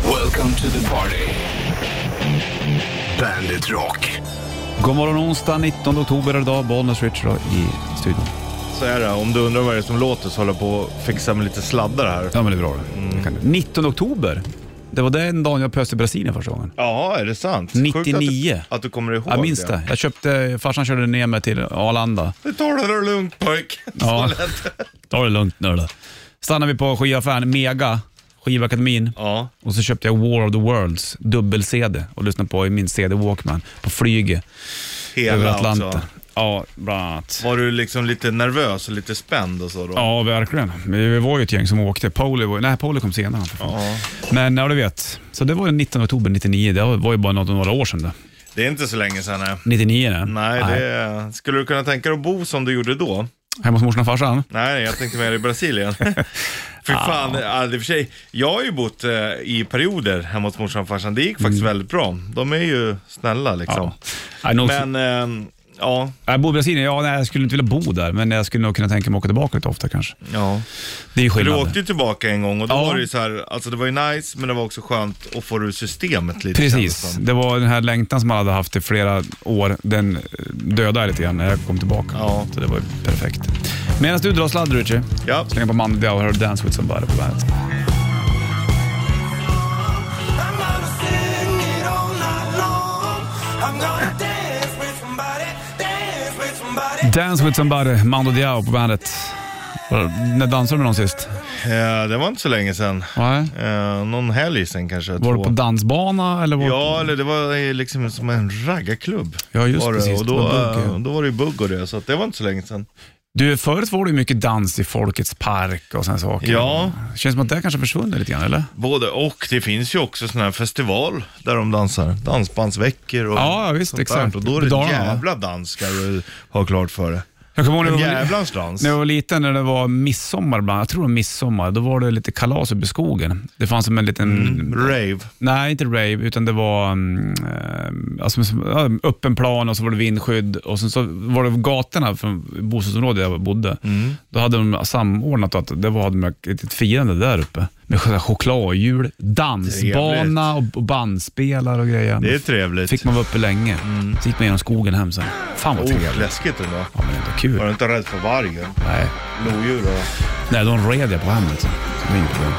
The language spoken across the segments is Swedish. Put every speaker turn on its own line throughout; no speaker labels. Welcome to the party. Bandit Rock.
God morgon onsdag 19 oktober idag, Bollnäs Rich då i studion.
Så är det. Om du undrar vad det är som låter så håller jag på att fixa med lite sladdar här.
Ja men det är bra det. det. Mm. kan du. 19 oktober, det var den dagen jag pöste i Brasilien första gången.
Ja, är det sant?
99.
Sjukt att, du, att du kommer ihåg
Jag minns det. Jag köpte, farsan körde ner mig till Arlanda.
Du tar det lugnt pojk.
Ja.
Ja. Så lätt.
Ta det lugnt nu då. Stannade vi på skivaffären Mega, skivakademin.
Ja.
Och så köpte jag War of the Worlds dubbel-CD och lyssnade på i min CD Walkman på flyget över
Hela
Atlanten.
alltså.
Ja, bland annat.
Var du liksom lite nervös och lite spänd och så då?
Ja, verkligen. Vi var ju ett gäng som åkte. Pauli var, nej, Pauli kom senare.
Ja.
Men ja, du vet. Så det var den 19 oktober 99. Det var ju bara något, några år sedan det.
Det är inte så länge sedan. Nej.
99 nej.
Nej, det... Skulle du kunna tänka dig att bo som du gjorde då?
Hemma hos morsan och farsan?
Nej, jag tänkte mer i Brasilien. Fy fan, ja. i och för sig. Jag har ju bott eh, i perioder hemma hos morsan och farsan. Det gick faktiskt väldigt bra. De är ju snälla liksom.
Mm. Ja. Nej, nog-
Men, ehm, ja.
Jag bor i Brasilien, ja, nej, jag skulle inte vilja bo där, men jag skulle nog kunna tänka mig att åka tillbaka lite ofta kanske.
ja.
Det är ju
För du
skillnad.
åkte ju tillbaka en gång och då
Ja.
var det ju så här, alltså det var ju nice men det var också skönt att få ur systemet lite. kändes
Precis,
som.
det var den här längtan som man hade haft i flera år. Den eh, dödade lite grann när jag kom tillbaka.
Ja.
Så det var ju perfekt. Medan du drar sladd Richie,
Ja.
slänger på Monday och hör Dance with somebody på bandet.
I'm gonna sing it all night long. I'm gonna dance with somebody, dance with somebody.
Dance with somebody, Mando Diao på bandet. Var- När dansade du med någon sist?
Eh, det var inte så länge sedan.
Nej.
Eh, någon helg sen kanske.
Var du på dansbana eller? Var
Ja, eller det var ju liksom som en raggarklubb.
Ja, just
var det.
precis.
Och
Det
då,
var bugg, ja.
eh, då var det ju bugg och det, så att det var inte så länge sedan.
Du, förut var det ju mycket dans i Folkets park och sådana saker.
Ja.
Känns som att det kanske försvunnit lite grann, eller?
Både och. Det finns ju också sån här festival där de dansar. Dansbandsveckor och
Ja, ja, visst,
sånt där.
exakt.
Och då är det
Dalarna,
en jävla dans ska du ha klart för det.
Jag kommer ihåg
En
när jag var-
jävlans dans.
när jag var liten, när det var midsommar ibland, jag tror det var midsommar, då var det lite kalas uppe i skogen. Det fanns som en liten,
Rave.
nej inte rave, utan det var mm, eh, alltså, som- ja, öppen plan och så var det vindskydd och sen så var det gatorna från bostadsområdet där jag bodde.
Mm.
Då hade de samordnat att det var hade de ett litet firande där uppe med ch- choklad och jul, dansbana och, och bandspelare och grejer.
Det är trevligt. Mm.
fick man vara uppe länge. Så gick man genom skogen hem sen. Fan vad trevligt.
Oh, läskigt ändå.
Ja, men ändå kul.
Var du inte rädd för vargen?
Nej.
Lodjur och...
Nej, de red jag på hemmet. Så det var inget problem.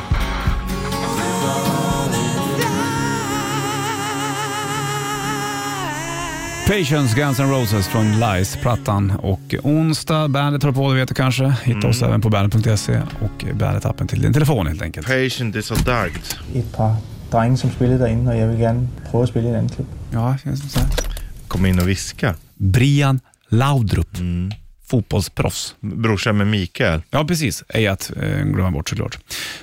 Patience, Guns N' Roses från Lies-plattan. Och onsdag, bandet håller på, det vet du kanske. Hitta oss
Mm.
även på bandet.se och bandet-appen till din telefon helt enkelt.
Patient is a darked.
et par drenge, som spillede derinde, og jeg vil gerne prøve at spille i en anden klub.
Ja, känns som så här.
Kom in och viska.
Brian Laudrup,
Mm.
fotbollsproffs.
Brorsan med Mikael.
Ja, precis. Ej att eh, glömma bort såklart.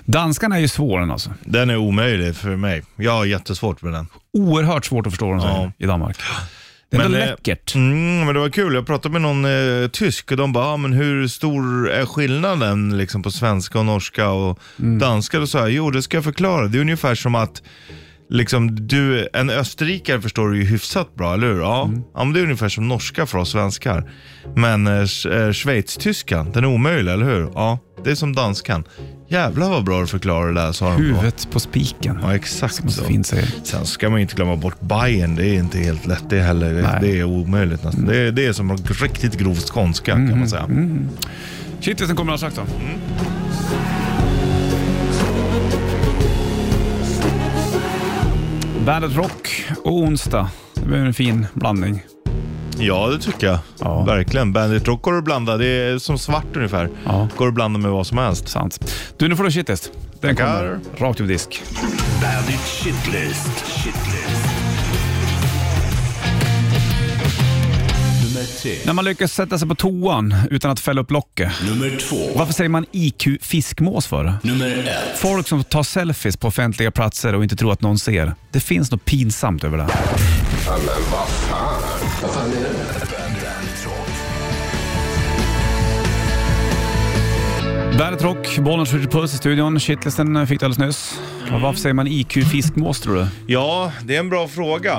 Danskarna är ju svåra alltså.
Den är omöjlig för mig. Jag har jättesvårt med den.
Oerhört svårt att förstå vad de säger
Ja.
i Danmark. Det är ändå
eh,
läckert.
Mm, men det var kul. Jag pratade med någon eh, tysk och de bara, ah, men hur stor är skillnaden liksom, på svenska och norska och danska? Då sa jag, jo det ska jag förklara. Det är ungefär som att Liksom du, en österrikare förstår du ju hyfsat bra, eller hur? Ja. ja, men det är ungefär som norska för oss svenskar. Men eh, sch- eh, schweiztyskan, den är omöjlig, eller hur? Ja, det är som danskan. Jävlar vad bra du förklarar det där, sa de. då.
Huvudet på spiken.
Ja, exakt så.
Så fint säger
Sen ska man inte glömma bort Bayern. Det är inte helt lätt det heller. Det,
Nej.
det är omöjligt nästan. Det, är- det är som riktigt grov skånska kan
Mm-hmm.
man säga.
Kittelsen kommer alldeles strax då. Bandet Rock och onsdag. Det blir en fin blandning.
Ja, det tycker jag.
Ja.
Verkligen. Bandit Rock går att blanda. Det är som svart ungefär.
Ja.
Går att blanda med vad som helst.
Sant. Du, nu får du shitlist. Den
Tackar.
kommer rakt över disk.
Bandit Shitlist. Shitlist. Nummer tre.
När man lyckas sätta sig på toan utan att fälla upp locket.
Nummer två.
Varför säger man IQ-fiskmås för?
Nummer ett.
Folk som tar selfies på offentliga platser och inte tror att någon ser. Det finns något pinsamt över det här.
Bandit Rock.
Bandet Rock, Bollnäs Richard Puss i studion. Shitlisten fick du alldeles nyss. Och Varför säger man IQ-fiskmås tror du?
Ja, det är en bra fråga.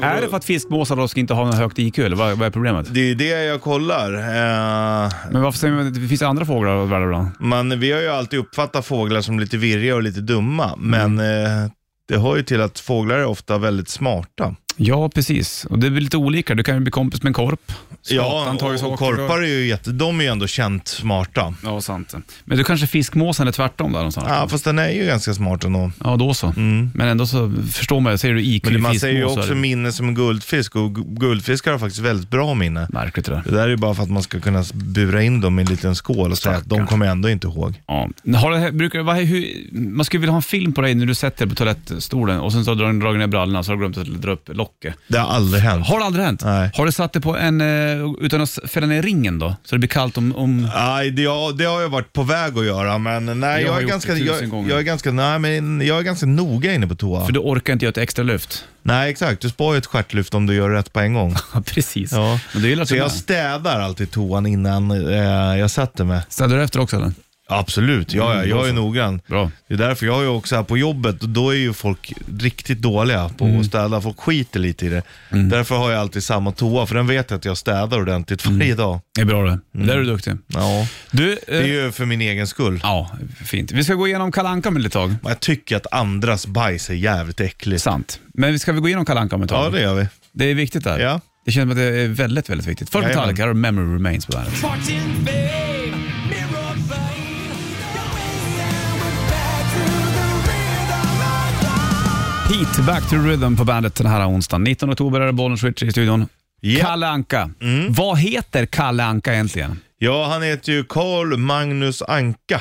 Är det för att fiskmåsar då ska inte ha något högt IQ eller vad, vad är problemet?
Det är det jag kollar. Eh,
Men varför säger man att det finns andra fåglar att välja bland? Mm.
man, vi har ju alltid uppfattat fåglar som lite virriga och lite dumma, men eh, det hör ju till att fåglar är ofta väldigt smarta.
Ja, precis. Och det är väl lite olika. Du kan ju bli kompis med en korp.
Ja,
Skatan tar ju
och,
saker
och korpar är ju jätte, de är ju ändå känt smarta.
Ja, sant. Men du kanske fiskmåsen är tvärtom där någonstans?
Ja, fast den är ju ganska smart ändå. Mm.
Ja, då så. Men ändå så förstår man ju. Säger du IQ
Men man
fiskmås
säger ju
så är
också
det
minne som en guldfisk och gu- guldfiskar har faktiskt väldigt bra minne.
Märkligt det där.
Det där är ju bara för att man ska kunna bura in dem i en liten skål och säga att de
Stackarn.
kommer ändå inte ihåg.
Ja. Har det, här- brukar, vad, hur, man skulle vilja ha en film på dig när du sätter dig på toalettstolen och sen så har du dragit- dragit ner brallorna så har du glömt att dra upp locket.
Det har aldrig hänt.
Har det aldrig hänt?
Nej.
Har du satt dig på en, eh, utan att fälla ner ringen då? Så det blir kallt om... om...
Nej, det, ja, det har jag varit på väg att göra, men nej,
Jag
jag,
har
är,
gjort
ganska,
det tusen
jag,
gånger.
jag är ganska nej, men jag är ganska noga inne på toa.
För du orkar inte göra ett extra lyft.
Nej, exakt. Du sparar ju ett stjärtlyft om du gör rätt på en gång.
Ja, precis.
Ja.
Men du gillar
Så
det
jag
jag...
städar alltid toan innan eh, jag sätter mig.
Städar du efter också eller?
Absolut, ja, ja,
Mm, bra
jag är
så.
noggrann.
Bra.
Det är därför jag är ju också här på jobbet, och då är ju folk riktigt dåliga på
Mm.
att städa. Folk skiter lite i det. Därför har jag alltid samma toa, för den vet jag att jag städar ordentligt varje
Mm.
dag.
Det är bra det. Där är du duktig.
Ja,
Du, eh,
Mm. det är ju för min egen skull.
ja, fint. Vi ska gå igenom Kalle Anka om ett litet tag.
Men Jag tycker att andras bajs är jävligt äckligt.
Sant. Men vi ska vi gå igenom Kalle Anka om ett tag?
Ja, det gör vi.
Det är viktigt där.
Ja.
Det känns som att det är väldigt, väldigt viktigt. Först
Jajamän.
Metallica, här har du Memory Remains på bandet.
Fortune, babe, mirror, vein. Going down, back to the rhythm of life.
Heat, Back to Rhythm på bandet den här onsdagen. 19 oktober är det Bollnäs Switch i studion.
Ja. Mm.
Kalle Anka. Vad heter Kalle Anka egentligen?
Ja, han heter ju Carl Magnus Anka.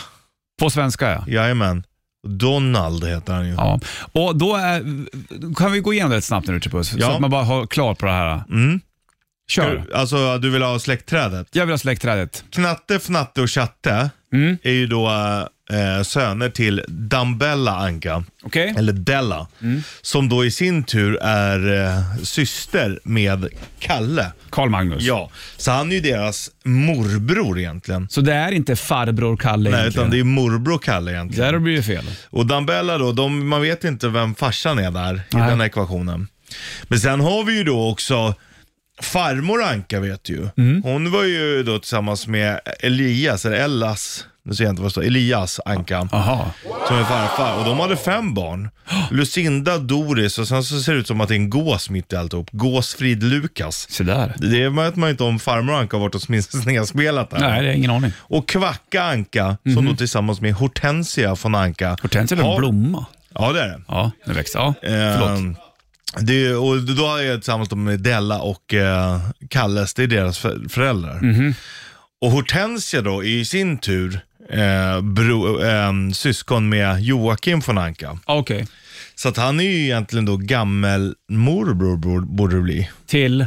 På svenska ja.
Jajamän. Donald heter han ju.
ja. Och då är, kan vi gå igenom det lite snabbt nu Puss,
Ja.
så att man bara har klar på det här.
Mm.
Kör.
Du, alltså, du vill ha släktträdet?
Jag vill ha släktträdet.
Knatte, Fnatte och Tjatte
Mm.
är ju då eh, söner till Dambella Anka,
Okej? Mm.
eller Della, som då i sin tur är eh, syster med Kalle.
Karl Magnus.
Ja, så han är ju deras morbror egentligen.
Så det är inte farbror Kalle
Nej,
egentligen?
utan det är morbror Kalle egentligen.
Där blir det fel.
Och Dambella då, de, man vet inte vem farsan är där i
Nej.
den här ekvationen. Men sen har vi ju då också farmor Anka vet du ju.
Mm.
Hon var ju då tillsammans med Elias, eller Ellas, nu ser jag inte vad det står, Elias Anka,
Aha.
som är farfar. Och de hade fem barn. Lucinda, Doris och sen så ser det ut som att det är en gås mitt i alltihop. Gåsfrid Lukas.
Se där.
Det vet man ju inte om farmor Anka har varit och sminsnedaspelat där.
Nej, Mhm. det är ingen aning.
Och Kvacka Anka, som då tillsammans med Hortensia von Anka.
Hortensia är väl en
har-
blomma?
Ja, det är det.
Ja, den växer. Ja, förlåt.
Ehm, Det, och då är jag tillsammans med Della och eh, Kalles, det är deras för- föräldrar.
Mhm.
Och Hortensia då i sin tur eh, bro, ehm, syskon med Joakim von Anka.
Ah, Okej.
Så att han är ju egentligen då gammelmorbror borde- borde det bli.
Till?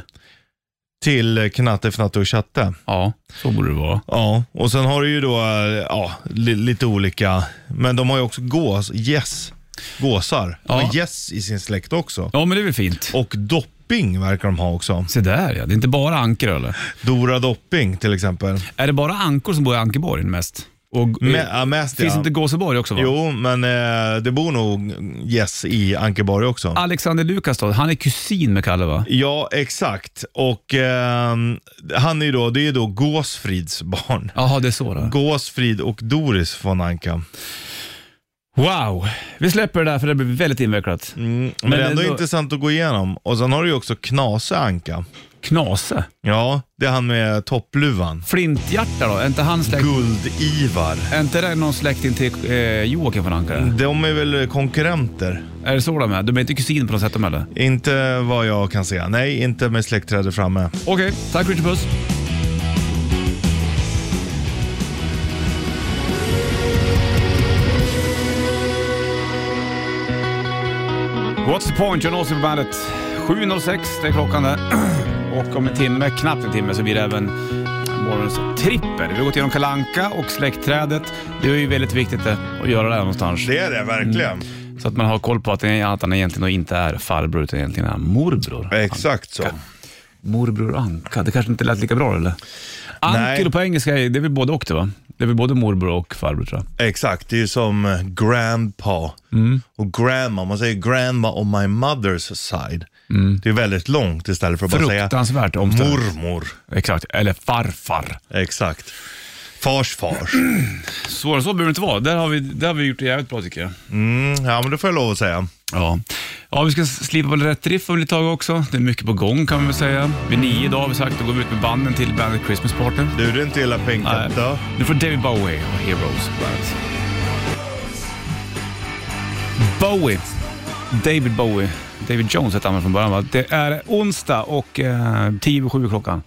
Till eh, Knatte, Fnatte och Tjatte.
Ja, så borde det vara.
Ja, och sen har du ju då eh, ja, li, lite olika, men de har ju också gås, gäss, gåsar. De
Ja.
har gäss i sin släkt också.
Ja, men det är väl fint.
Och dopping verkar de ha också.
Se där ja, det är inte bara ankor eller?
Dora Dopping till exempel.
Är det bara ankor som bor i Ankeborg mest? Och, eh,
Me- ja, mest
finns
ja.
inte Gåseborg också? Va?
Jo, men eh, det bor nog gäss i Ankeborg också.
Alexander Lukas då, han är kusin med Kalle va?
Ja, exakt. Och ehm, han är ju då, det är då Gåsfrids barn.
Jaha, det är så då.
Gåsfrid och Doris von Anka.
Wow! Vi släpper det där för det blir väldigt invecklat.
Mm,
Men
men, det är ändå
ändå-
intressant att gå igenom. Och sen har du ju också Knase Anka.
Knase?
Ja, det är han med toppluvan.
Flinthjärta då, är inte han släkt?
Guld-Ivar.
Är inte det någon släkting till eh, Joakim von Anka?
De är väl konkurrenter?
Är det så de är? De är inte kusin på något sätt de eller?
Inte vad jag kan säga. Nej, inte med släktträdet framme.
Okej, tack Richard Puss. What's the point? John Austin på bandet. 7.06, det är klockan där. Och om en timme, knappt en timme, så blir det även morgonens trippel. Vi har gått igenom Kalanka och släktträdet. Det är ju väldigt viktigt det, att göra det här någonstans.
Det är det verkligen.
Så att man har koll på att, det- att han egentligen inte är farbror utan egentligen är morbror.
Exakt så.
Morbror Anka, det kanske inte lät lika bra eller?
Nej.
Ankel på engelska, är- det är väl både och det va? Det är väl både morbror och farbror tror jag.
Exakt, det är ju som eh, grandpa och grandma. Man säger grandma on my mother's side. Det är väldigt långt istället för att bara säga
Fruktansvärt omständigt.
mormor.
Exakt, eller farfar.
Exakt. Fars fars. Mm,
Svårare så behöver det inte vara. Där har vi, där har vi gjort det jävligt bra tycker jag.
Mm, ja, men det får jag lov att säga.
Ja. ja, vi ska slipa på rätt riff om ett tag också. Det är mycket på gång kan man väl säga. Vid nio idag har vi sagt, då går vi ut med banden till bandet Christmas Party.
Du, det är inte illa
Nej.
pinkat då.
Nu får David Bowie och Heroes på bandet. Bowie. David Bowie. David Jones hette han från början va? Det är onsdag och eh, tio över sju är klockan.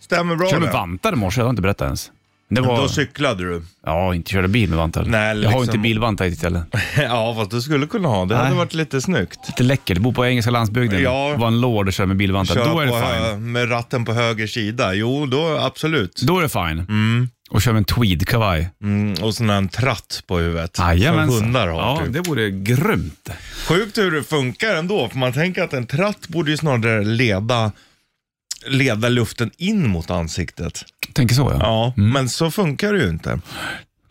Stämmer bra
Körde
det.
med vantar i morse, jag har inte berättat ens. Det var,
Då cyklade du.
ja, inte körde bil med vantar.
Nej,
Jag har ju
liksom-
inte bilvantar i stället.
ja, fast du skulle kunna ha. Det hade
Nej.
varit lite snyggt.
Lite läckert, bo på engelska landsbygden,
Ja.
vara en lord och köra med bilvantar.
Köra
Då är det
på eh,
fine.
hö- med ratten på höger sida. Jo, då absolut.
Då är det fine. Och kör med en tweedkavaj.
Mm, och sån här tratt på huvudet. Som
Jajamensan.
hundar har.
Ja,
typ.
det vore grymt.
Sjukt hur det funkar ändå, för man tänker att en tratt borde ju snarare leda, leda luften in mot ansiktet.
Tänker så ja.
Ja, men så funkar det ju inte.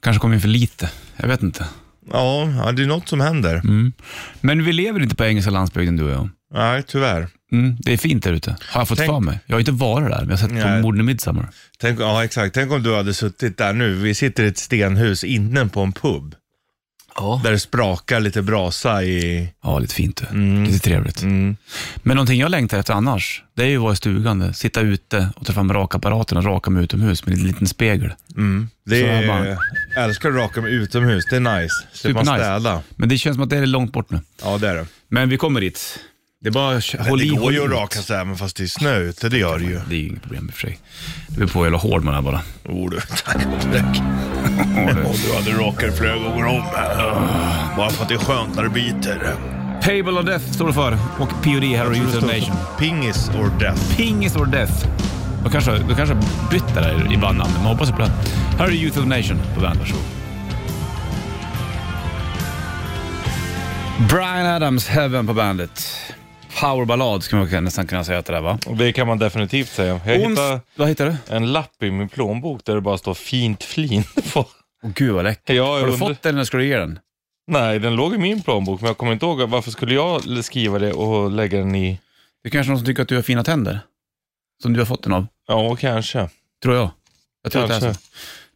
Kanske kom in för lite. Jag vet inte.
Ja, ja, det är något som händer.
Mm. Men vi lever inte på engelska landsbygden du och jag.
Nej, tyvärr.
Mm, det är fint där ute, har jag fått
Tänk-
för mig. Jag har inte varit där, men jag har sett
Nej.
på Morden i Midsommar.
Tänk, ja, exakt. Tänk om du hade suttit där nu. Vi sitter i ett stenhus inne på en pub.
Ja.
Där det sprakar lite brasa i...
Ja, lite fint du.
Mm.
Lite trevligt. Men någonting jag längtar efter annars, det är ju att vara i stugan, det. sitta ute och ta fram rakapparaten och raka mig utomhus med en liten spegel. Så
Det
här
är,
bara.
älskar att raka mig utomhus. Det är nice. Slipper man
Supernice.
städa.
Men det känns som att det är långt bort nu.
Ja, det är det.
Men vi kommer dit. Det är bara att
Men
håll
det
i,
går
håll
ju att
ut.
raka sig även fast det är snö ute. Det gör det ju.
Det är ju inget problem i och för sig. Det beror på hur jävla hård man är bara.
Oh,
Jo du, tack och tack. Och du hade rakat flera gånger om här.
Ah.
Bara för att det är skönt när det biter.
Table of Death står det för och POD här och Youth of Nation.
Pingis or death.
Pingis or Death. Då kanske då kanske jag bytt det där i bandnamnet, men hoppas jag på det. Här är Youth of Nation på bandet. Varsågod. Brian Adams, Heaven på bandet. Powerballad skulle man nästan kunna säga att det där va?
Det kan man definitivt säga. Jag hittade
Ons- Vad hittar du?
en lapp i min plånbok där det bara står fint flin på.
Åh gud vad läckert.
Ja, jag
Har du
undrar-
fått den eller ska du ge den?
Nej, den låg i min plånbok, men jag kommer inte ihåg varför skulle jag skriva det och lägga den i...
Det är kanske någon som tycker att du har fina tänder. Som du har fått den av.
Ja, kanske.
Tror jag. Jag tror att det är så.
Kanske.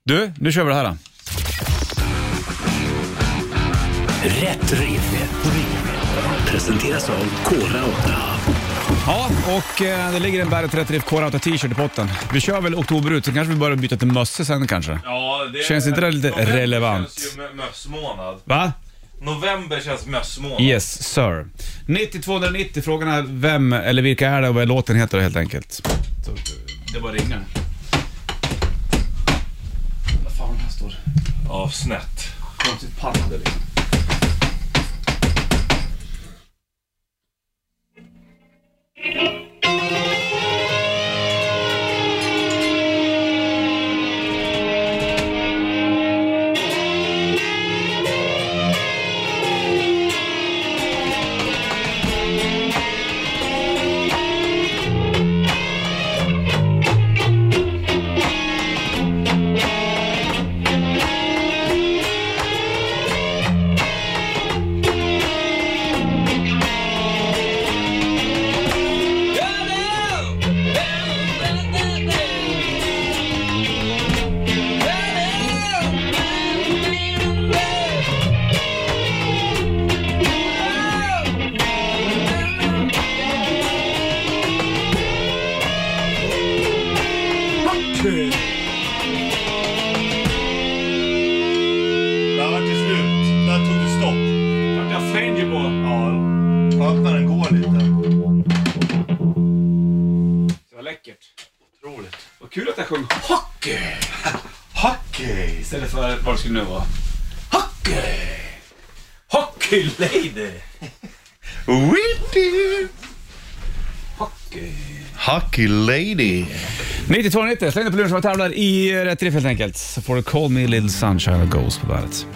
Du, nu kör vi det här. Då.
Rätt riff. Presenteras av Kora 8.
Ja, och eh, det ligger en Bandet 30 FK Rauta t-shirt i potten. Vi kör väl oktober ut, sen kanske vi börjar byta till mössa sen kanske.
Ja, det
Känns inte det lite November relevant? känns
mössmånad.
Va?
November känns mössmånad.
Yes, sir. 90-290, frågan är vem eller vilka är det och vad låten heter helt enkelt. Så, det bara ringar. Vad fan här står?
Ja, snett.
Konstigt pallade liksom.
Där var det slut. Där tog det stopp. Vart jag svänger på. Ja, skönt när den går lite.
Det var läckert. Otroligt. Vad kul att jag sjöng hockey
Hockey!
istället för vad det skulle nu vara. Hockey! Hockey lady!
Witty!
Hockey.
Hockey lady.
9290, släng dig på luren som jag tävlar i eh, rätt riff helt enkelt. Så får du Call Me Little Sunshine och Ghost på bandet.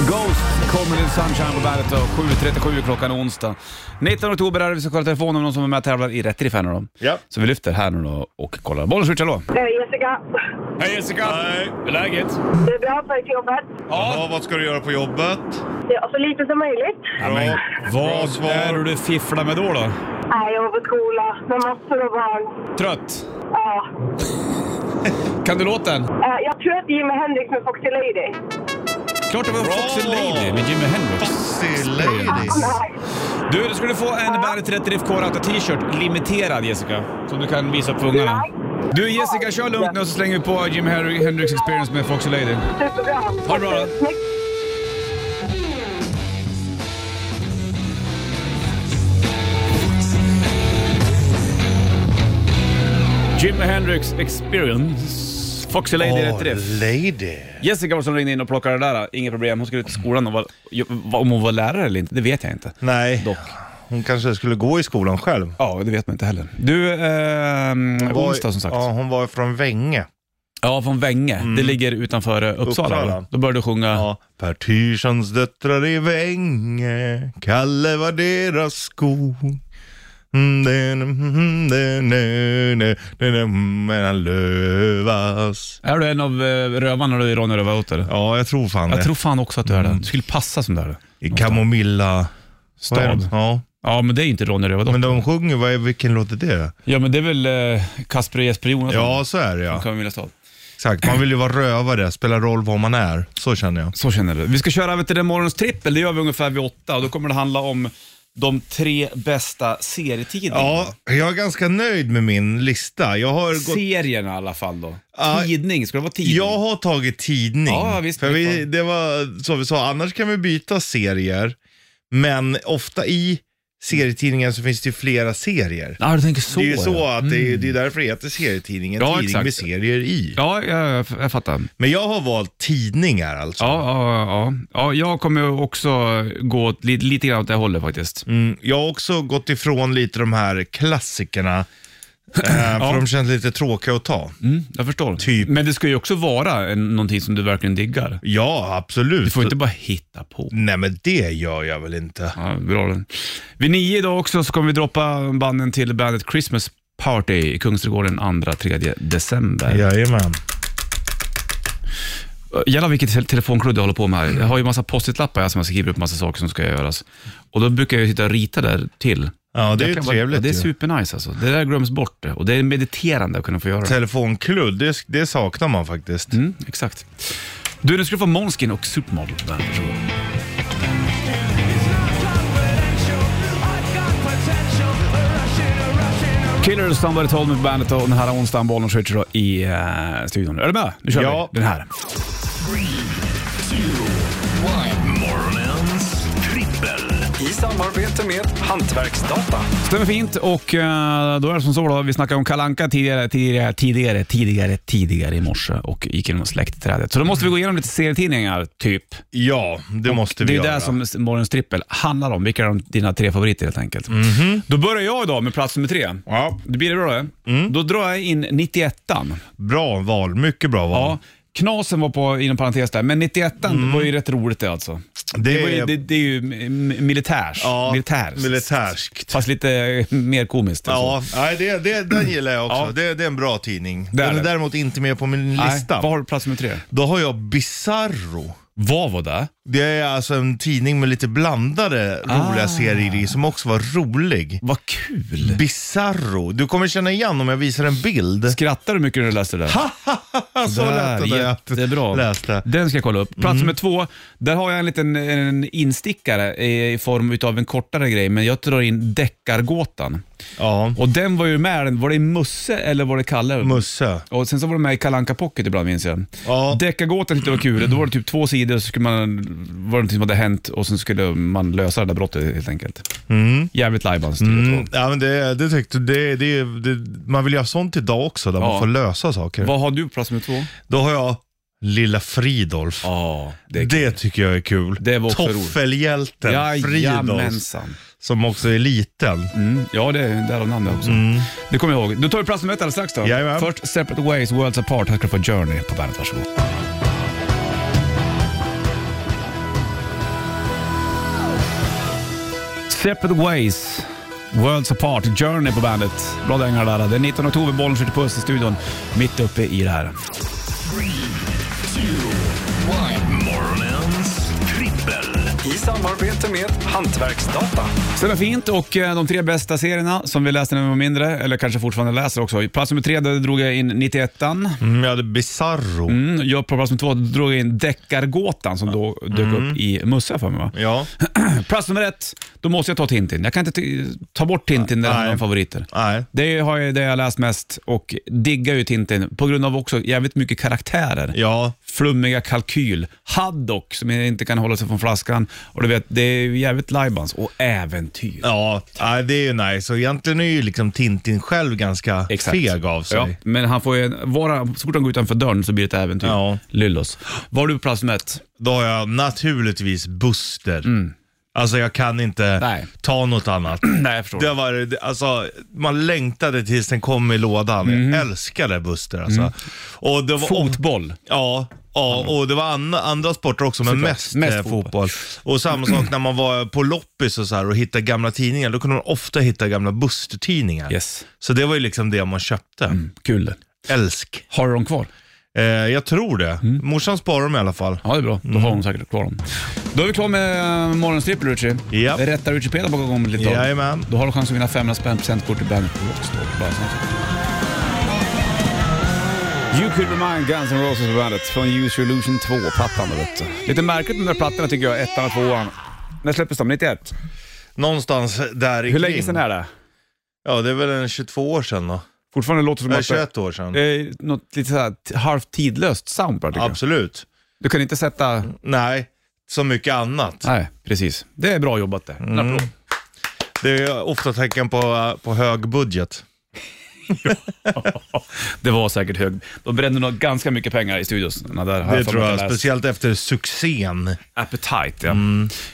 Ghost, Call Me Little Sunshine på bandet och 7.37 klockan onsdag. 19 oktober är det, vi ska kolla telefonen om någon som är med och tävlar i Rätt Riff här nu då.
Ja.
Så vi lyfter här nu då och kollar. Bollen switch, hallå!
Eh, Jessica,
Hej Jessica!
Hej.
Hur är läget?
det är bra för jobbet.
Jaha, vad ska du göra på jobbet?
Ja, så lite som möjligt.
Ja, men,
Bra
vad
svar.
är det du fifflar med då då?
Nej, jag var på skola med massor av barn.
Trött?
Ja.
Kan du låten?
Eh, Jag tror att Jimi Hendrix med Foxy Lady.
Klart det var Foxy
Bra!
Lady med Jimi Hendrix.
Foxy ladies.
Nej.
Du, du skulle få en Bandet Rätt Riff K-Rauta t-shirt, limiterad Jessica, som du kan visa upp för ungarna.
Nej.
Du Jessica, kör lugnt nu och så slänger vi på Jimi Hen- Hendrix Experience med Foxy Lady.
Superbra.
Ha det bra då.
Snyggt.
Jimi Hendrix Experience. Foxy Lady Rätt Riff.
lady.
Jessica var som ringde in och plockade det där. Inga problem, hon skulle ut i skolan och var, jo, va- om hon var lärare eller inte, det vet jag inte.
Nej,
Dock.
hon kanske skulle gå i skolan själv.
Ja, det vet man inte heller. Du, ehm,
Var-
onsdag som sagt.
Ja,
Ja,
hon var från Vänge.
från Vänge. Det ligger utanför eh, Uppsala.
Uppsala.
va? Då började du sjunga.
Ja. Per Tyrssons döttrar i Vänge, Kalle var deras skog. Mm, den, mm, den, den, den, den, Mellan lövas.
Är du en av eh, rövarna du i Ronny Mm. Rövardotter?
Ja, jag tror fan
Jag
det.
tror fan också att du är det. Du skulle passa som där.
I Kamomilla
Stad.
Vad är det? Ja,
Ja, men det är inte Ronny Rövardotter.
men de sjunger, vad är, vilken låt är det?
Ja, men det är väl eh, Kasper och Jesper Jonasson?
Ja, så är det ja.
Kan vi vilja stå.
Exakt, man vill ju vara rövare, spelar roll var man är. Så känner jag.
Så känner du. Vi ska köra över till den morgons trippel. Det gör vi ungefär vid åtta och då kommer det handla om de tre bästa serietidningarna.
Ja, jag är ganska nöjd med min lista. Jag har gått
Serierna i alla fall då.
Ja.
tidning, ska det vara tidning?
Jag har tagit tidning.
Ja, visst,
för
visst,
vi,
ja.
det var så vi sa, annars kan vi byta serier. Men ofta i serietidningen så finns det ju flera serier.
Ja, du tänker så.
det är ju så
ja.
att det, är, det är därför det heter serietidningen,
Ja,
tidning
exakt.
med serier i.
Ja, jag, jag, jag fattar.
Men jag har valt tidningar alltså.
Ja, ja, ja. ja, jag kommer också gå åt, lite, lite grann åt det hållet faktiskt.
Mm, jag har också gått ifrån lite de här klassikerna, eh, för de känns lite tråkiga att ta.
Mm, jag förstår.
Typ.
Men det ska ju också vara en, någonting som du verkligen diggar.
Ja, absolut.
Du får inte bara hitta på.
Nej men det gör jag väl inte.
Ja, bra den. Vid nio idag också så kommer vi droppa banden till bandet Christmas Party i Kungsträdgården 2-3 december. Äh,
Jajamän.
Jävlar vilket te- telefonkludd jag håller på med här. Jag har ju massa post-it-lappar här som jag skriver upp massa saker som ska göras. Och då brukar jag sitta och rita där till.
Ja, det är ju
Jag kan bara-
trevligt.
ja, Det är
ju.
supernice alltså. Det där glöms bort det. och det är mediterande att kunna få göra det.
Telefonkludd, det, det saknar man faktiskt.
Mm, exakt. Du, nu ska du få Månskin och Supermodel på bandet. varsågod. Killer Somebody Told Me på bandet och den här onsdagen, Bollnäs Switcher då i eh, studion. Är du med? Nu kör
Ja.
vi den här.
Morgonens trippel.
I samarbete med Hantverksdata.
Stämmer fint och eh, då är det som så då, vi snackade om Kalanka tidigare, tidigare, tidigare, tidigare, tidigare i morse och gick igenom släktträdet. Så då måste vi gå igenom lite serietidningar, typ.
Ja, det måste
Det
vi
är
göra.
det som morgonens trippel handlar om. Vilka är de- dina tre favoriter helt enkelt?
Mhm.
Då börjar jag idag med plats nummer tre.
Ja,
Det blir det bra det?
Mm.
Då drar jag in 91an.
bra val, mycket bra val.
Ja, knasen var på, inom parentes där, men 91an var ju rätt roligt det alltså.
Mm. det,
Det, var ju,
är
det, det är ju m- militärs.
ja,
militärs.
militärskt.
Fast lite eh, mer komiskt. alltså.
Ja, nej, det, det, den gillar jag också.
Ja.
Det, det är en bra tidning.
Det är
Den är
det.
däremot inte med på min lista.
Nej, vad har du på plats nummer tre?
Då har jag Bizarro.
Vad var det?
Det är alltså en tidning med lite blandade
Ah.
roliga serier i som också var rolig.
Vad kul!
Bizarro. Du kommer känna igen om jag visar en bild.
Skrattar du mycket när du läste det?
Så lätt att jag
det är bra.
läste. Mm.
Den ska jag kolla upp. Plats nummer två, där har jag en liten en instickare i i form av en kortare grej, men jag drar in Deckargåtan.
Ja,
Och den var ju med, var det i Musse eller var det Kalle?
Musse.
Och sen så var de med i Kalanka Pocket ibland minns jag.
Ja.
Deckargåtan tyckte jag var kul. Då var det typ två sidor så skulle man, var det någonting som hade hänt och sen skulle man lösa det där brottet helt enkelt. Jävligt lajbans.
Mm, ja, men det, det tyckte det, det, det, Man vill ju ha sånt idag också, där man
Ja.
får lösa saker.
Vad har du på plats nummer två?
Då har jag Lilla Fridolf.
Ja, det
det,
är kul.
tycker jag är kul.
Det var också roligt.
Toffelhjälten Fridolf,
Jajamensan.
som också är liten.
Mm. Ja, det är därav namnet också. Det kommer jag ihåg. Då tar vi plats nummer ett alldeles strax då.
Jajamän.
Först Separate Ways, Worlds Apart. Här ska du få Journey på bandet. Varsågod. Separate Ways, Worlds Apart, Journey på bandet. Bra dängar där. Det är 19 oktober, bollen skjuter puss i studion. Mitt uppe i det här.
Morgonens trippel.
I samarbete med Hantverksdata.
Så det är fint och eh, de tre bästa serierna som vi läste när vi var mindre, eller kanske fortfarande läser också. Plats nummer tre, där drog jag in 91an.
Mm, jag hade Bizarro.
Mm, jag på plats nummer två drog jag in Deckargåtan som då
Mm.
dök upp i Musse för mig va?
Ja. Mm.
Plats nummer ett, då måste jag ta Tintin. Jag kan inte t- ta bort Tintin, det är en av
Nej.
mina favoriter.
Nej.
Det har jag, det jag läst mest och diggar ju Tintin på grund av också jävligt mycket karaktärer.
Ja.
Flummiga kalkyl, Haddock som inte kan hålla sig från flaskan och du vet, det är ju jävligt lajbans och äventyr.
Ja, nej, det är ju nice. Och egentligen är ju liksom Tintin själv ganska feg av sig.
Ja, men han får ju en, vara, så fort han går utanför dörren så blir det ett äventyr.
Ja.
Lyllos. Var du på plats nummer ett?
Då har jag naturligtvis Buster. Alltså jag kan inte
Mm. Nej.
ta något annat.
Nej, jag förstår.
Det var, det- alltså, man längtade tills den kom i lådan.
Mhm.
Jag älskade Buster alltså.
Mm.
Och det var,
Fotboll.
Ja, ja och det var an, andra sporter också, men
Mm. Såklart.
mest,
Mest
eh,
fotboll.
fotboll. Och samma sak när man var på loppis och, så här, och hittade gamla tidningar. Då kunde man ofta hitta gamla Buster-tidningar.
Yes. Mm.
Så det var ju liksom det man köpte.
Kul det.
Älsk.
Har du dem kvar?
Eh, jag tror det.
Mm.
Morsan sparar dem i alla fall.
Ja, det är bra. Då har hon säkert kvar dem. Då är vi klara med eh, morgonens trippel, Ritchie.
Japp.
Rätta Ritchie Peda bakom om lite tag.
Jajamän.
Då har du chans att vinna 500 spänn presentkort till Bandet på Rockstore. Bara en sån sak. You could remind Guns N' Roses på bandet från Use Your Illusion 2-plattan. då, vet du. Lite märkligt med de där plattorna tycker jag, ettan och tvåan. När släpptes de? 91?
Någonstans där
Hur länge sedan är det?
Ja, det är väl en 22 år sedan då.
Fortfarande låter
Eller
det som att
21 år sedan.
det är något lite såhär t- halvt tidlöst sound bara, tycker jag.
Absolut.
Du kan inte sätta...
Nej, så mycket annat.
Nej, precis. Det är bra jobbat där. En applåd.
Det är ofta tecken på, på hög budget.
Det var säkert hög. De brände nog ganska mycket pengar i studiosarna där. har
Det
för
tror
mig
jag,
att läst.
speciellt Mm. efter succén.
Appetite, ja.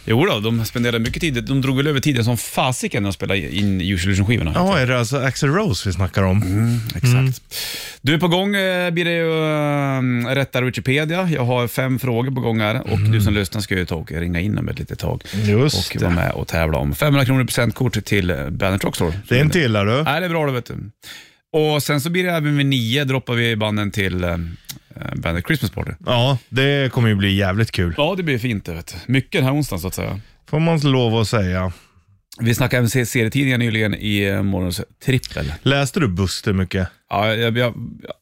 Jo då, de spenderade mycket tid. De drog väl över tiden som fasiken när de spelade in Use Illusion-skivorna.
Ja, Mm. är det alltså Axel Rose vi snackar om?
Exakt. Du är på gång, eh, blir det ju um, rätta Wikipedia. Jag har fem frågor på gång här och du som lyssnar ska ju ta och ringa in om ett litet tag.
Mm. Just
och vara med och tävla om 500 kronor i presentkort till eh, Bandet Rockstore.
Det är inte illa du.
Nej, det är bra det vet du. Och sen så blir det även vid nio, droppar vi banden till eh, Bandet Christmas Party.
Ja, det kommer ju bli jävligt kul.
Ja, det blir fint det vet du. Mycket den här onsdagen så att säga.
Får man lov att säga.
Vi snackade även se- serietidningar nyligen i eh, morgons trippel.
Läste du Buster mycket?
Ja, jag, jag,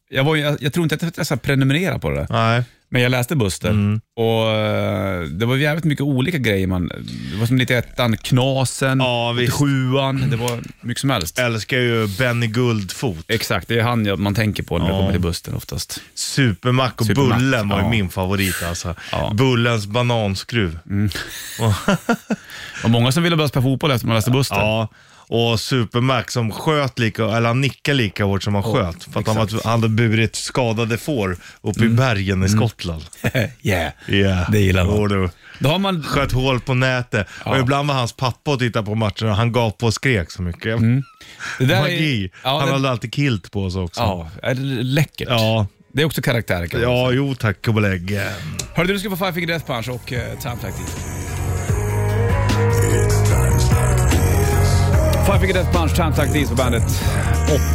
jag, var, ju- jag, jag tror inte att jag så här prenumererade på det, där.
Nej.
men jag läste Buster. Och eh, Det var jävligt mycket olika grejer. Man, det var som lite ettan, Knasen,
Ja, visst.
sjuan. Det var mycket som helst.
Älskar ju Benny Guldfot.
Exakt, det är han jag, man tänker på när det kommer till Buster oftast.
Supermack och
Supermack,
Bullen var ju
ja.
min favorit alltså.
Ja.
Bullens bananskruv.
Och många som ville börja spela fotboll efter man läste Buster.
Ja, och Supermac som sköt lika, eller han nickade lika hårt som han sköt. För att han, var, han hade burit skadade får uppe i bergen i Skottland.
yeah.
Yeah.
Mm. Det gillar man.
Och du
Då har man...
Sköt hål på nätet. Och ibland var hans pappa och tittade på matchen och han gav på och skrek så mycket.
Mm. Det där är-
Magi.
Ja,
han
det,
hade alltid kilt på sig också.
ja, är det läckert.
Ja,
Det är också karaktär kan man
ja jo tack och belägg.
Hörru du, du ska få Five Finger Death Punch och uh, Time Tactics. Five Finger Death Punch, Time Tactics på bandet.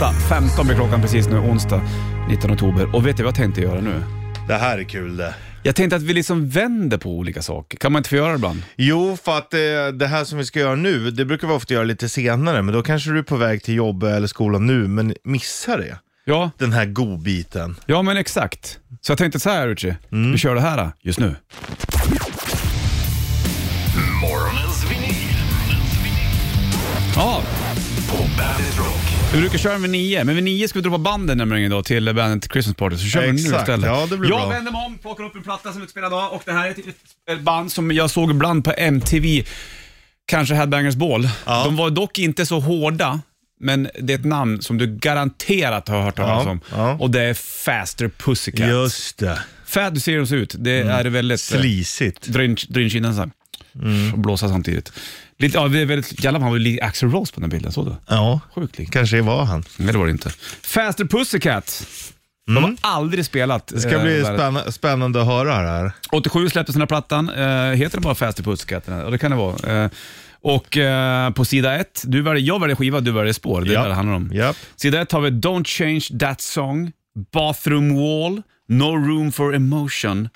8.15 blir klockan precis nu, onsdag 19 oktober. Och vet du vad jag tänkte göra nu?
Det här är kul det.
Jag tänkte att vi liksom vänder på olika saker. Kan man inte få göra det ibland?
Jo, för att eh, det här som vi ska göra nu, det brukar vi ofta göra lite senare, men då kanske du är på väg till jobbet eller skolan nu, men missar det.
Ja,
Den här godbiten.
ja men exakt. Så jag tänkte så här Richie,
Mm.
vi kör det här eh, just nu.
Morgonens vinyl.
Ja,
På Bandet Rock.
vi brukar köra vid nio, men vid nio ska vi droppa banden nämligen då till bandet Christmas Party, så kör vi nu
Exakt,
istället.
ja, det blir
jag
bra.
vänder mig om, plockar upp en platta som utspelar idag och det här är ett, ett band som jag såg ibland på MTV, kanske Headbangers Ball. De var dock inte så hårda, men det är ett namn som du garanterat har hört talas
Ja,
om
ja.
och det är Faster Pussycat.
Just Mm. det.
Fad, du ser hur de ser ut. Det är väldigt... eh,
Slisigt.
Dra in, dra in kinderna såhär.
Mm.
Och blåsa samtidigt. Lite, ja, det är väldigt, jävlar, han var ju lik Axl Rose på den här bilden, såg du?
Ja,
Sjukt lik.
kanske det var han.
Nej, det var det inte. Faster Pussycat. De har aldrig spelat.
Mm.
eh,
Det ska bli spänna, spännande att höra det här.
87 släpptes den här plattan. Eh, heter den bara Faster Pussycat? den här? Ja, det kan det vara. Eh, Och eh, på sida ett, du väljer, jag väljer skiva, du väljer spår. Det är
Ja.
det det handlar om.
Japp.
Sida ett har vi Don't Change That Song, Bathroom Wall, No Room For Emotion,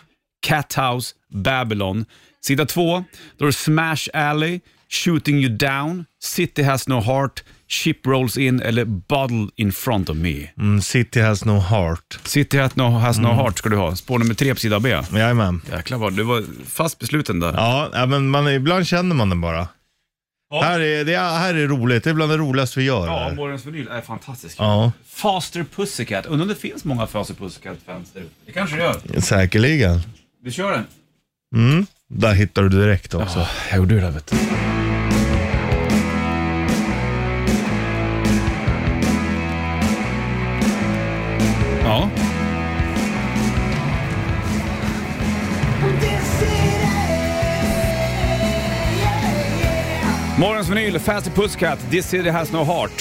Cat House, Babylon. Sida två, då är det Smash Alley, Shooting You Down, City Has No Heart, Ship Rolls In eller Bottle In Front Of Me.
Mm, City has no heart.
City Has No, has no Heart ska du ha, spår nummer tre på sida B.
Jajamän.
Mm. Jäklar vad du var fast besluten där.
Ja, ja, men man, ibland känner man den bara. Här, är, det, är- här är roligt, det är bland det roligaste vi gör.
Ja,
här.
vårens vinyl är fantastisk.
ja
Faster Pussycat. Undrar om det finns många Faster Pussycat-fans där ute. Det kanske det gör.
säkerligen.
Vi kör den.
Där hittar du direkt också.
jag gjorde det, vet du. Ja. Morgons vinyl, Faster Pussycat, This City Has No Heart.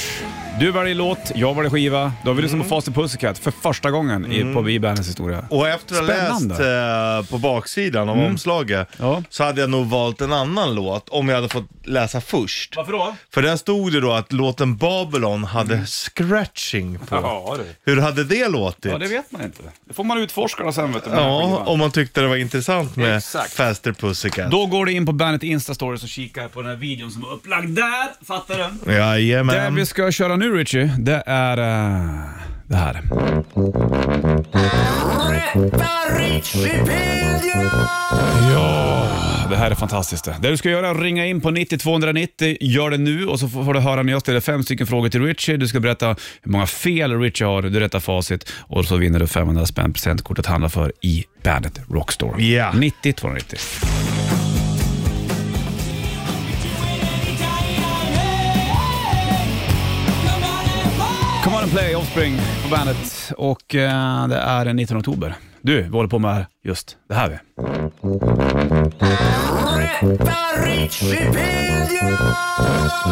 Du var i låt, jag var i skiva. Då har vi lyssnat på Faster Pussycat för första gången i, på Bibelns historia.
Och efter att ha läst eh, på baksidan av omslaget
Mm. Ja.
så hade jag nog valt en annan låt om jag hade fått läsa först.
Varför då?
För där stod det då att låten Babylon hade
Mm.
scratching på.
Ja, du.
Hur hade det låtit?
Ja, det vet man inte. Det får man utforska då sen vet du. med den här
Ja,
skivan.
om man tyckte det var intressant med
Exakt.
Faster Pussycat.
Då går du in på Bandet Instastories och kikar på den här videon som är upplagd där. Fattar du? Det
Jajamän.
vi ska köra nu Richie, det är eh, det här. Ja, det här är fantastiskt. Det Det du ska göra är att ringa in på 90 290. Gör det nu och så får får du höra när jag ställer fem stycken frågor till Richie. Du ska berätta hur många fel Richie har, du rättar facit och så vinner du 500 spänn presentkortet handlar för i Bandet Rockstore.
Ja.
90 290. Come on and play Offspring på bandet och eh, det är den 19 oktober. Du, vi håller på med just det här. vi.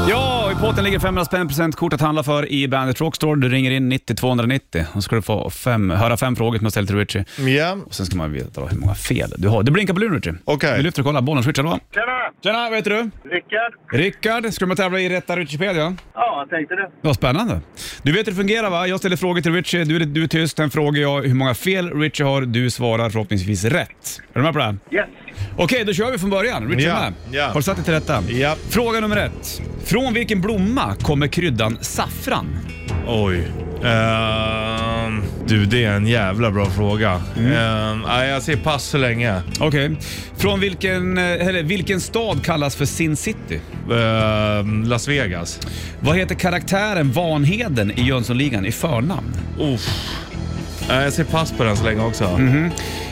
Ja, i potten ligger 500 spänn presentkort att handla för i Bandet Rockstore. Du ringer in 90 290 och så ska du få fem, höra fem frågor som jag ställer till Richie.
Ja,
Och sen ska man veta då hur många fel du har. Du blinkar på luren Richie.
Okej.
Vi lyfter och kollar. Bollen switchar då.
Tjena!
Tjena, vad heter du?
Rickard.
Rickard, ska du med och tävla i Rätta Wikipedia?
Ja, jag tänkte det.
Vad spännande. Du vet hur det fungerar va? Jag ställer frågor till Richie, du, är- du är tyst, sen frågar jag hur många fel Richie har, du svarar förhoppningsvis rätt. Är du med på det? här?
Yes.
Okej, då kör vi från början. Richie
Ja,
är med.
ja.
Har du satt dig till rätta?
Ja.
Fråga nummer ett. Från vilken blomma kommer kryddan saffran?
oj. Ehm, du, det är en jävla bra fråga.
Mm.
Ehm, nej, jag säger pass så länge.
Okej. Från vilken, eh, eller vilken stad kallas för Sin City?
Ehm, Las Vegas.
Vad heter karaktären Vanheden i Jönssonligan i förnamn?
Uff. Nej, jag säger pass på den så länge också.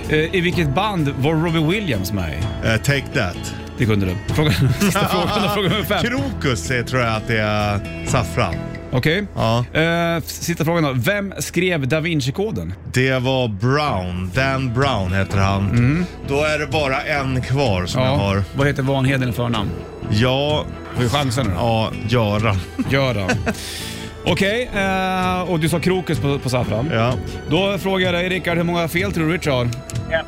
Eh, I vilket band var Robbie Williams med i?
Eh, take that.
Det kunde du. Fråga, sista frågan, fråga nummer fem.
Krokus eh, tror jag att det är saffran.
Okej.
Ja.
Eh, sista frågan då. Vem skrev Da Vinci-koden?
Det var Brown. Dan Brown heter han.
Mm.
Då är det bara en kvar som jag har.
Vad heter Vanheden i förnamn?
Ja,
Har vi chansen nu då?
ja, Göran.
Göran. Okej, eh, och du sa krokus på, på saffran.
Ja.
Då frågar jag dig Rickard, hur många fel tror du Richard har?
Ett.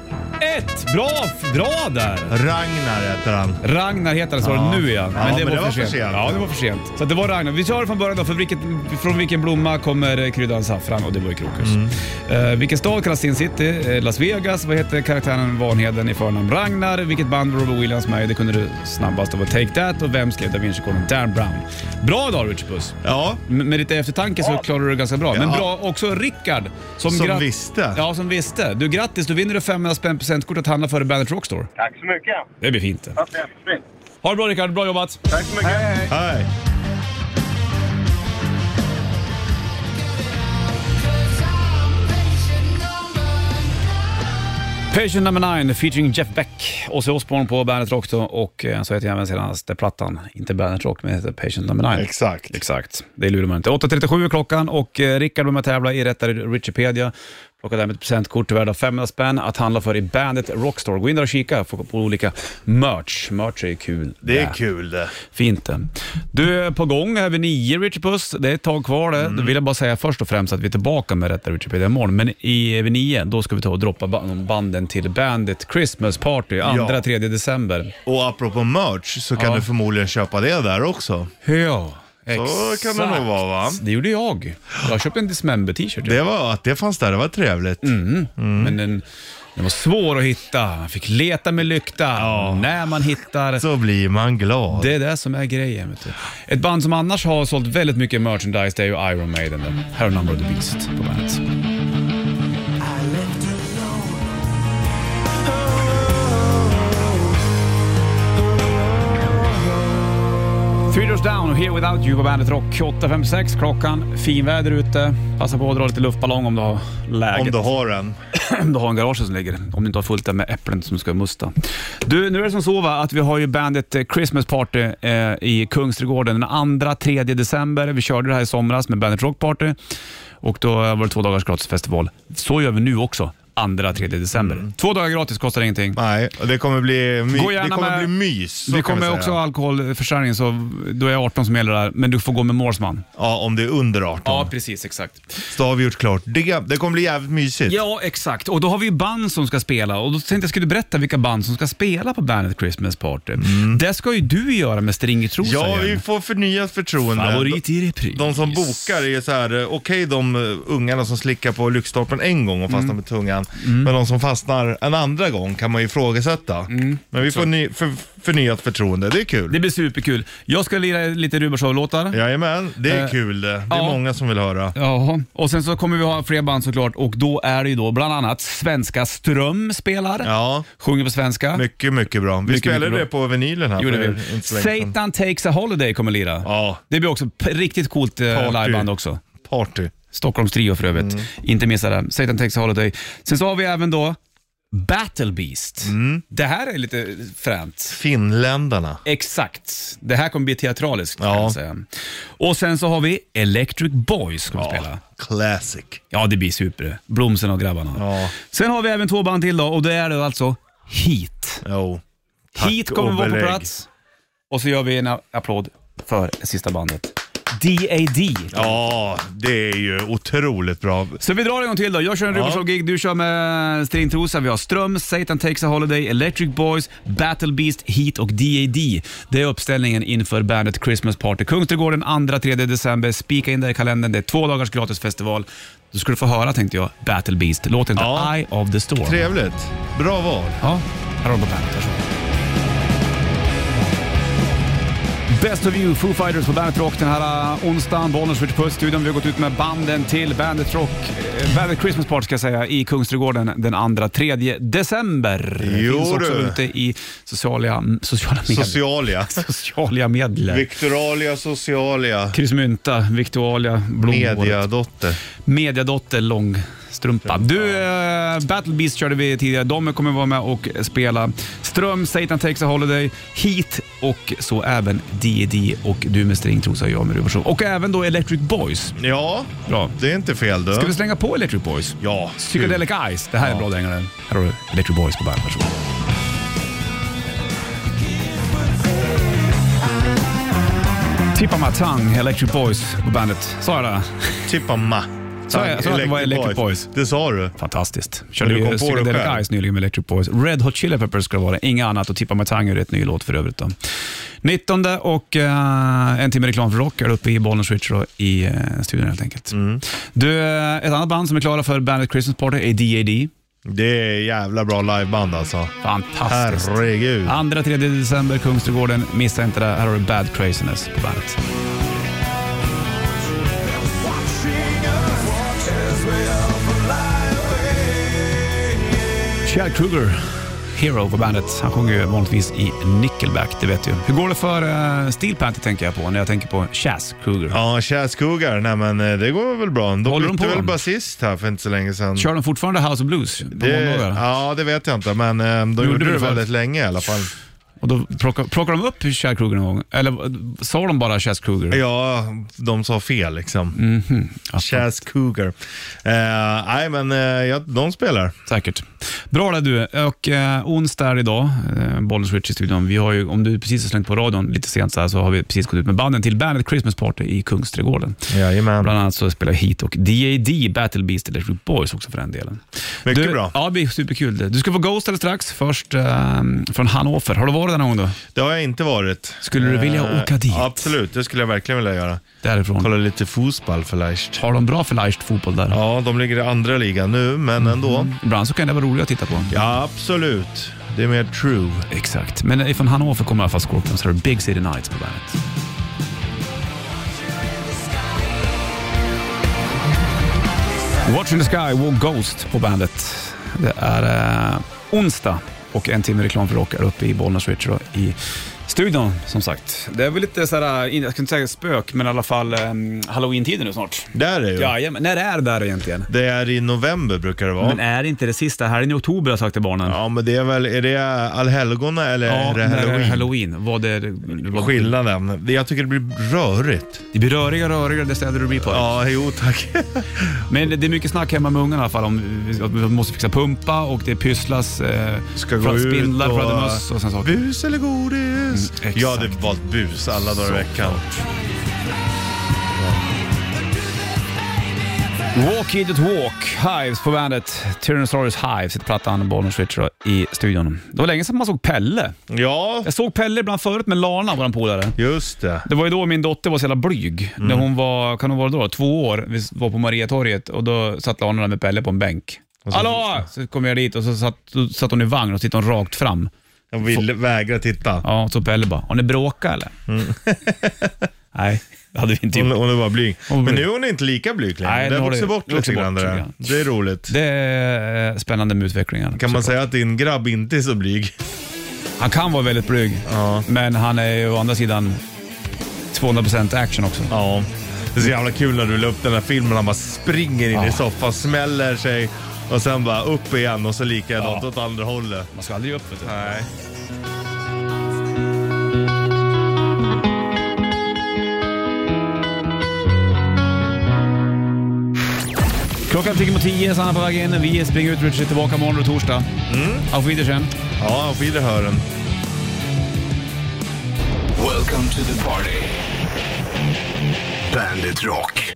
Ett! Bra, bra där!
Ragnar heter han.
Ragnar heter det, så
Ja.
nu igen.
Ja, men det var för sent.
Ja, det var för sent. Så att det var Ragnar. Vi tar det från början då. För vilket, från vilken blomma kommer eh, kryddan saffran? Och det var ju krokus.
Mm.
Eh, vilken stad kallas Sin City? Eh, Las Vegas. Vad heter karaktären Vanheden i förnamn? Ragnar. Vilket band var Robert Williams med i? Det kunde du snabbast. Det var Take That. Och vem skrev Da Vinci-koden? Dan Brown. Bra dag Richard Puss.
Ja,
M- Med lite eftertanke så klarar du det ganska bra. Men
Ja.
bra också Rickard.
Som
gratt-
visste.
Ja, som visste. Du, grattis. Du vinner du 500 spänn presentkort att handla för i Bandet Rockstore.
Tack så mycket.
Det blir fint det.
Ja, det är fint.
Ha det bra Rickard, bra jobbat!
Tack så mycket.
hej.
Patient number 9 featuring Jeff Beck, Ozzy Osbourne på Bandet Rock då, och eh, så heter jag även senaste plattan, inte Bandet Rock, men heter Patient number 9.
Exakt.
Exakt, det lurar man inte. 8.37 är klockan och eh, Rickard var med och tävla i Rättare Wikipedia. och har därmed ett presentkort värda 500 spänn att handla för i Bandit Rockstore. Gå in där och kika få på olika merch. Merch är ju kul.
Det är kul det.
Fint det. Du är på gång här vid nio, Richard Puss. Det är ett tag kvar det.
Mm.
Då vill jag bara säga först och främst att vi är tillbaka med Rätta Wikipedia imorgon. Men i, vid nio, då ska vi ta och droppa ba- banden till Bandit Christmas Party, 2-3 december.
Och apropå merch så kan
Ja.
du förmodligen köpa det där också.
Ja,
Så kan det nog vara, va?
Det gjorde jag. Jag köpte en Dismember-t-shirt,
Det var att det fanns där, det var trevligt.
Mm.
Mm.
men den, den var svår att hitta. Man fick leta med lykta. När man hittar
Så blir man glad.
Det är det som är grejen. Vet du. Ett band som annars har sålt väldigt mycket merchandise, det är ju Iron Maiden. Där. Här har Number of the Beast på bandet. Three Doors Down och Here Without You på Bandet Rock. 8.56 klockan. Finväder ute. Passa på att dra lite luftballong om du har läget.
Om du har en.
Om du har en garage som ligger, om du inte har fullt där med äpplen som ska musta. Du, nu är det som så va, att vi har ju bandet eh, Christmas Party eh, i Kungsträdgården den 2-3 december. Vi körde det här i somras med bandet Rock Party och då var det två dagars gratisfestival. Så gör vi nu också, 2-3 december.
Mm.
Två dagar gratis kostar ingenting.
Nej, och det kommer bli, my-
Gå
det
gärna
kommer
med-
bli mys. så
Vi
kan vi
kommer
säga.
också ha alkoholförsäljning, så då är jag 18 som gäller där. Men du får gå med målsman.
Ja, om det är under 18.
precis. Exakt.
Så har vi gjort klart. Det, det kommer bli jävligt mysigt.
Ja, exakt. Och då har vi ju band som ska spela och då tänkte jag skulle berätta vilka band som ska spela på bandet Christmas Party. Det ska ju du göra med Stringertrosa
Mm. Ja,
igen.
vi får förnyat förtroende.
Favorit i repris.
De som bokar är så här, eh, okej de eh, ungarna som slickar på lyktstolpen en gång och fastnar
Mm.
med tungan. Men de som fastnar en andra gång kan man ju ifrågasätta. Men vi får ny, för, förnyat förtroende, det är kul.
Mm. Det blir superkul. Jag ska lira lite Rubershow-låtar.
Jajamän, det är
Eh,
kul det. Det är
ja.
många som vill höra.
Ja, och sen så kommer vi ha fler band såklart och då är det ju då bland annat svenska Ström spelar.
Ja,
Sjunger på svenska.
mycket, mycket bra. Vi
Mycket,
spelade
mycket bra.
det på vinylen här
Gjorde
för
vi.
inte så länge sedan.
Satan takes a holiday kommer lira.
Ja,
Det blir också p- riktigt coolt eh,
Party.
liveband också.
party.
Stockholms trio för övrigt.
Mm.
Inte missa det. Satan Takes a Holiday. Sen så har vi även då Battle Beast.
Mm.
Det här är lite fränt.
Finländarna.
Exakt. Det här kommer bli teatraliskt kan
Ja.
jag säga. Och sen så har vi Electric Boys som spelar.
Classic.
Ja, det blir super. Blomsen och grabbarna.
Ja.
Sen har vi även två band till då och det är då alltså Heat.
Jo. Oh. Tack
Heat kommer
och
vara på
belägg.
plats. Och så gör vi en applåd för sista bandet. DAD.
Ja, det är ju otroligt bra.
Så vi drar en gång till då. Jag kör en
Ja.
Rubershow-gig, du kör med Stringtrosa. Vi har Ström, Satan Takes a Holiday, Electric Boys, Battle Beast, Heat och DAD. Det är uppställningen inför bandet Christmas Party. Kungsträdgården 2-3 december. Spika in det i kalendern. Det är två dagars gratisfestival. Då ska du få höra, tänkte jag, Battle Beast. Låt inte
Ja.
Eye of the Storm.
Trevligt. Bra val.
Ja, här har de på bandet. Varsågod. Best of you, Foo Fighters på Bandet Rock den här uh, onsdagen. Bollnäs Ritchie Puss-studion. Vi har gått ut med banden till Bandet Rock, eh, Bandet Christmas Party ska jag säga, i Kungsträdgården den 2 3 december. Det
Jo,
finns också
du.
ute i sociala, sociala medier.
Socialia.
sociala medier.
Victoralia Socialia.
Kryssmynta, Victualia, Blommor.
Mediadotter.
Mediadotter Långstrumpa. Du, eh, Battle Beast körde vi tidigare. De kommer vara med och spela Ström, Satan Takes a Holiday, Heat och så även D&D och du med stringtrosa och jag med Rubersson. Och även då Electric Boys.
Ja,
Bra.
det är inte fel du.
Ska vi slänga på Electric Boys?
Ja,
Psychedelic Eyes. Det här är bra dängare. Här har du Electric Boys på bandet. Varsågod. Tippa my tongue, Electric Boys på bandet. Sa jag det?
tippa ma.
Sa jag- sa jag att det var Electric Boys?
Det sa du.
Fantastiskt. Körde
du kom
ju
på det
Psychedelic
själv.
Eyes nyligen med Electric Boys. Red Hot Chili Peppers ska det vara. Inga annat. Och Tippa Matang är ett ny låt för övrigt. Då. 19 och eh, en timme reklam för rock är uppe i Bollnäs Switch då, i eh, studion helt enkelt.
Mm.
Du, eh, ett annat band som är klara för bandet Christmas Party är D.A.D.
Det är jävla bra liveband alltså.
Fantastiskt.
Herregud.
2-3 december, Kungsträdgården. Missa inte det. Här har du Bad Craziness på bandet. Chad Kruger, Hero på bandet. Han sjunger ju vanligtvis i Nickelback, det vet du. Hur går det för uh, Steel Panther tänker jag på när jag tänker på Chas Kruger.
Ja, Tjäskogar. Nej men eh, det går väl bra. De
Håller de
bytte
på
väl
dem?
basist här för inte så länge sedan.
Kör de fortfarande House of Blues på
det,
måndagar?
ja, det vet jag inte, men eh, de
det
gjorde, det
förut.
väldigt länge i alla fall.
Och då plockade, plockade de upp Chad Kroger någon gång? Eller eh, sa de bara Chad Kroger?
Ja, de sa fel liksom.
Mhm.
Chas Cougar. Eh, Nej, men eh, ja, de spelar.
Säkert. Bra där du. Och eh, onsdag är idag, eh, Bollnäs Rich i studion. Vi har ju, om du precis har slängt på radion lite sent så här, så har vi precis gått ut med banden till bandet Christmas Party i Kungsträdgården.
Jajamän.
Bland annat så spelar Heat och DAD, Battle Beast Electric Boys också för den delen.
Mycket
du,
bra.
Ja, det blir superkul. det. Du ska få Ghost alldeles strax. Först eh, från Hannover. Har du varit där någon gång då?
Det har jag inte varit.
Skulle du vilja
Eh,
åka dit?
Absolut, det skulle jag verkligen vilja göra.
Därifrån.
Kolla lite fotboll förleicht.
Har de bra förlajst fotboll där?
Ja, de ligger i andra ligan nu, men ändå.
Ibland så kan det vara roligt att titta på.
Ja, absolut. Det är mer true.
Exakt. Men från Hannover kommer i alla fall Scorpions. Här har du Big City Nights på bandet. Watch in the Sky, War Ghost på bandet. Det är eh, onsdag och en timme reklam för rock är uppe i Bollnäs Richard och i studion som sagt. Det är väl lite sådär, jag ska inte säga spök, men i alla fall eh, halloween-tiden nu snart.
Där är ju.
Jajamän, när är det där egentligen?
Det är i november brukar det vara.
Men är det inte det sista helgen i oktober har jag sagt till barnen?
Ja, men det är väl, är det allhelgona eller
Ja,
är det
när är
halloween?
det halloween? Vad är det? Vad,
Skillnaden. Det- Jag tycker det blir rörigt.
Det blir rörigare och rörigare det städer du blir på.
Ja, jo tack.
Men det är mycket snack hemma med ungarna i alla fall om att vi måste fixa pumpa och det pysslas eh,
Ska gå
från
ut
spindlar,
och-
fladdermöss och sen saker.
Bus eller godis?
Mm, exakt.
jag hade valt bus alla dagar i veckan.
Walk Idiot Walk, Hives på bandet. Tyrannosaurus Hives heter plattan, Bollen Switcher i studion. Det var länge sedan man såg Pelle.
Ja,
Jag såg Pelle ibland förut med Lana, vår polare.
just det.
Det var ju då min dotter var så jävla blyg. När
Mm.
hon var, kan hon vara då, två år, vi var på Mariatorget och då satt Lana där med Pelle på en bänk. Hallå! Så kom jag dit och så satt, då satt hon i vagn och tittade hon rakt fram.
Jag ville vägra titta.
Ja, och så Pelle bara, har ni bråkat eller?
Mm.
Nej, det hade vi inte
Hon,
gjort.
hon är bara blyg.
Hon är
Men
blyg.
nu är hon inte lika blyg längre.
Nej,
det
nu
har
har
vuxit
det-
bort
det har
lite
vuxit
grann det
bort lite
där.
grann.
Det är roligt.
Det är eh, spännande med utvecklingen.
Kan man säga att din grabb inte är så blyg?
Han kan vara väldigt blyg, men han är ju å andra sidan 200% action också.
Ja. Det är så jävla kul när du la upp den här filmen han bara springer in i soffan, smäller sig och sen bara upp igen och så likadant åt andra hållet.
Man ska aldrig ge upp vet du.
Nej.
Klockan tickar mot tio, Sanna på väg in. Vi springer ut, Richard är tillbaka imorgon och torsdag. Mm. Auf Wiedersehen.
Ja, auf Wiederhören.
Welcome to the party. Bandit Rock.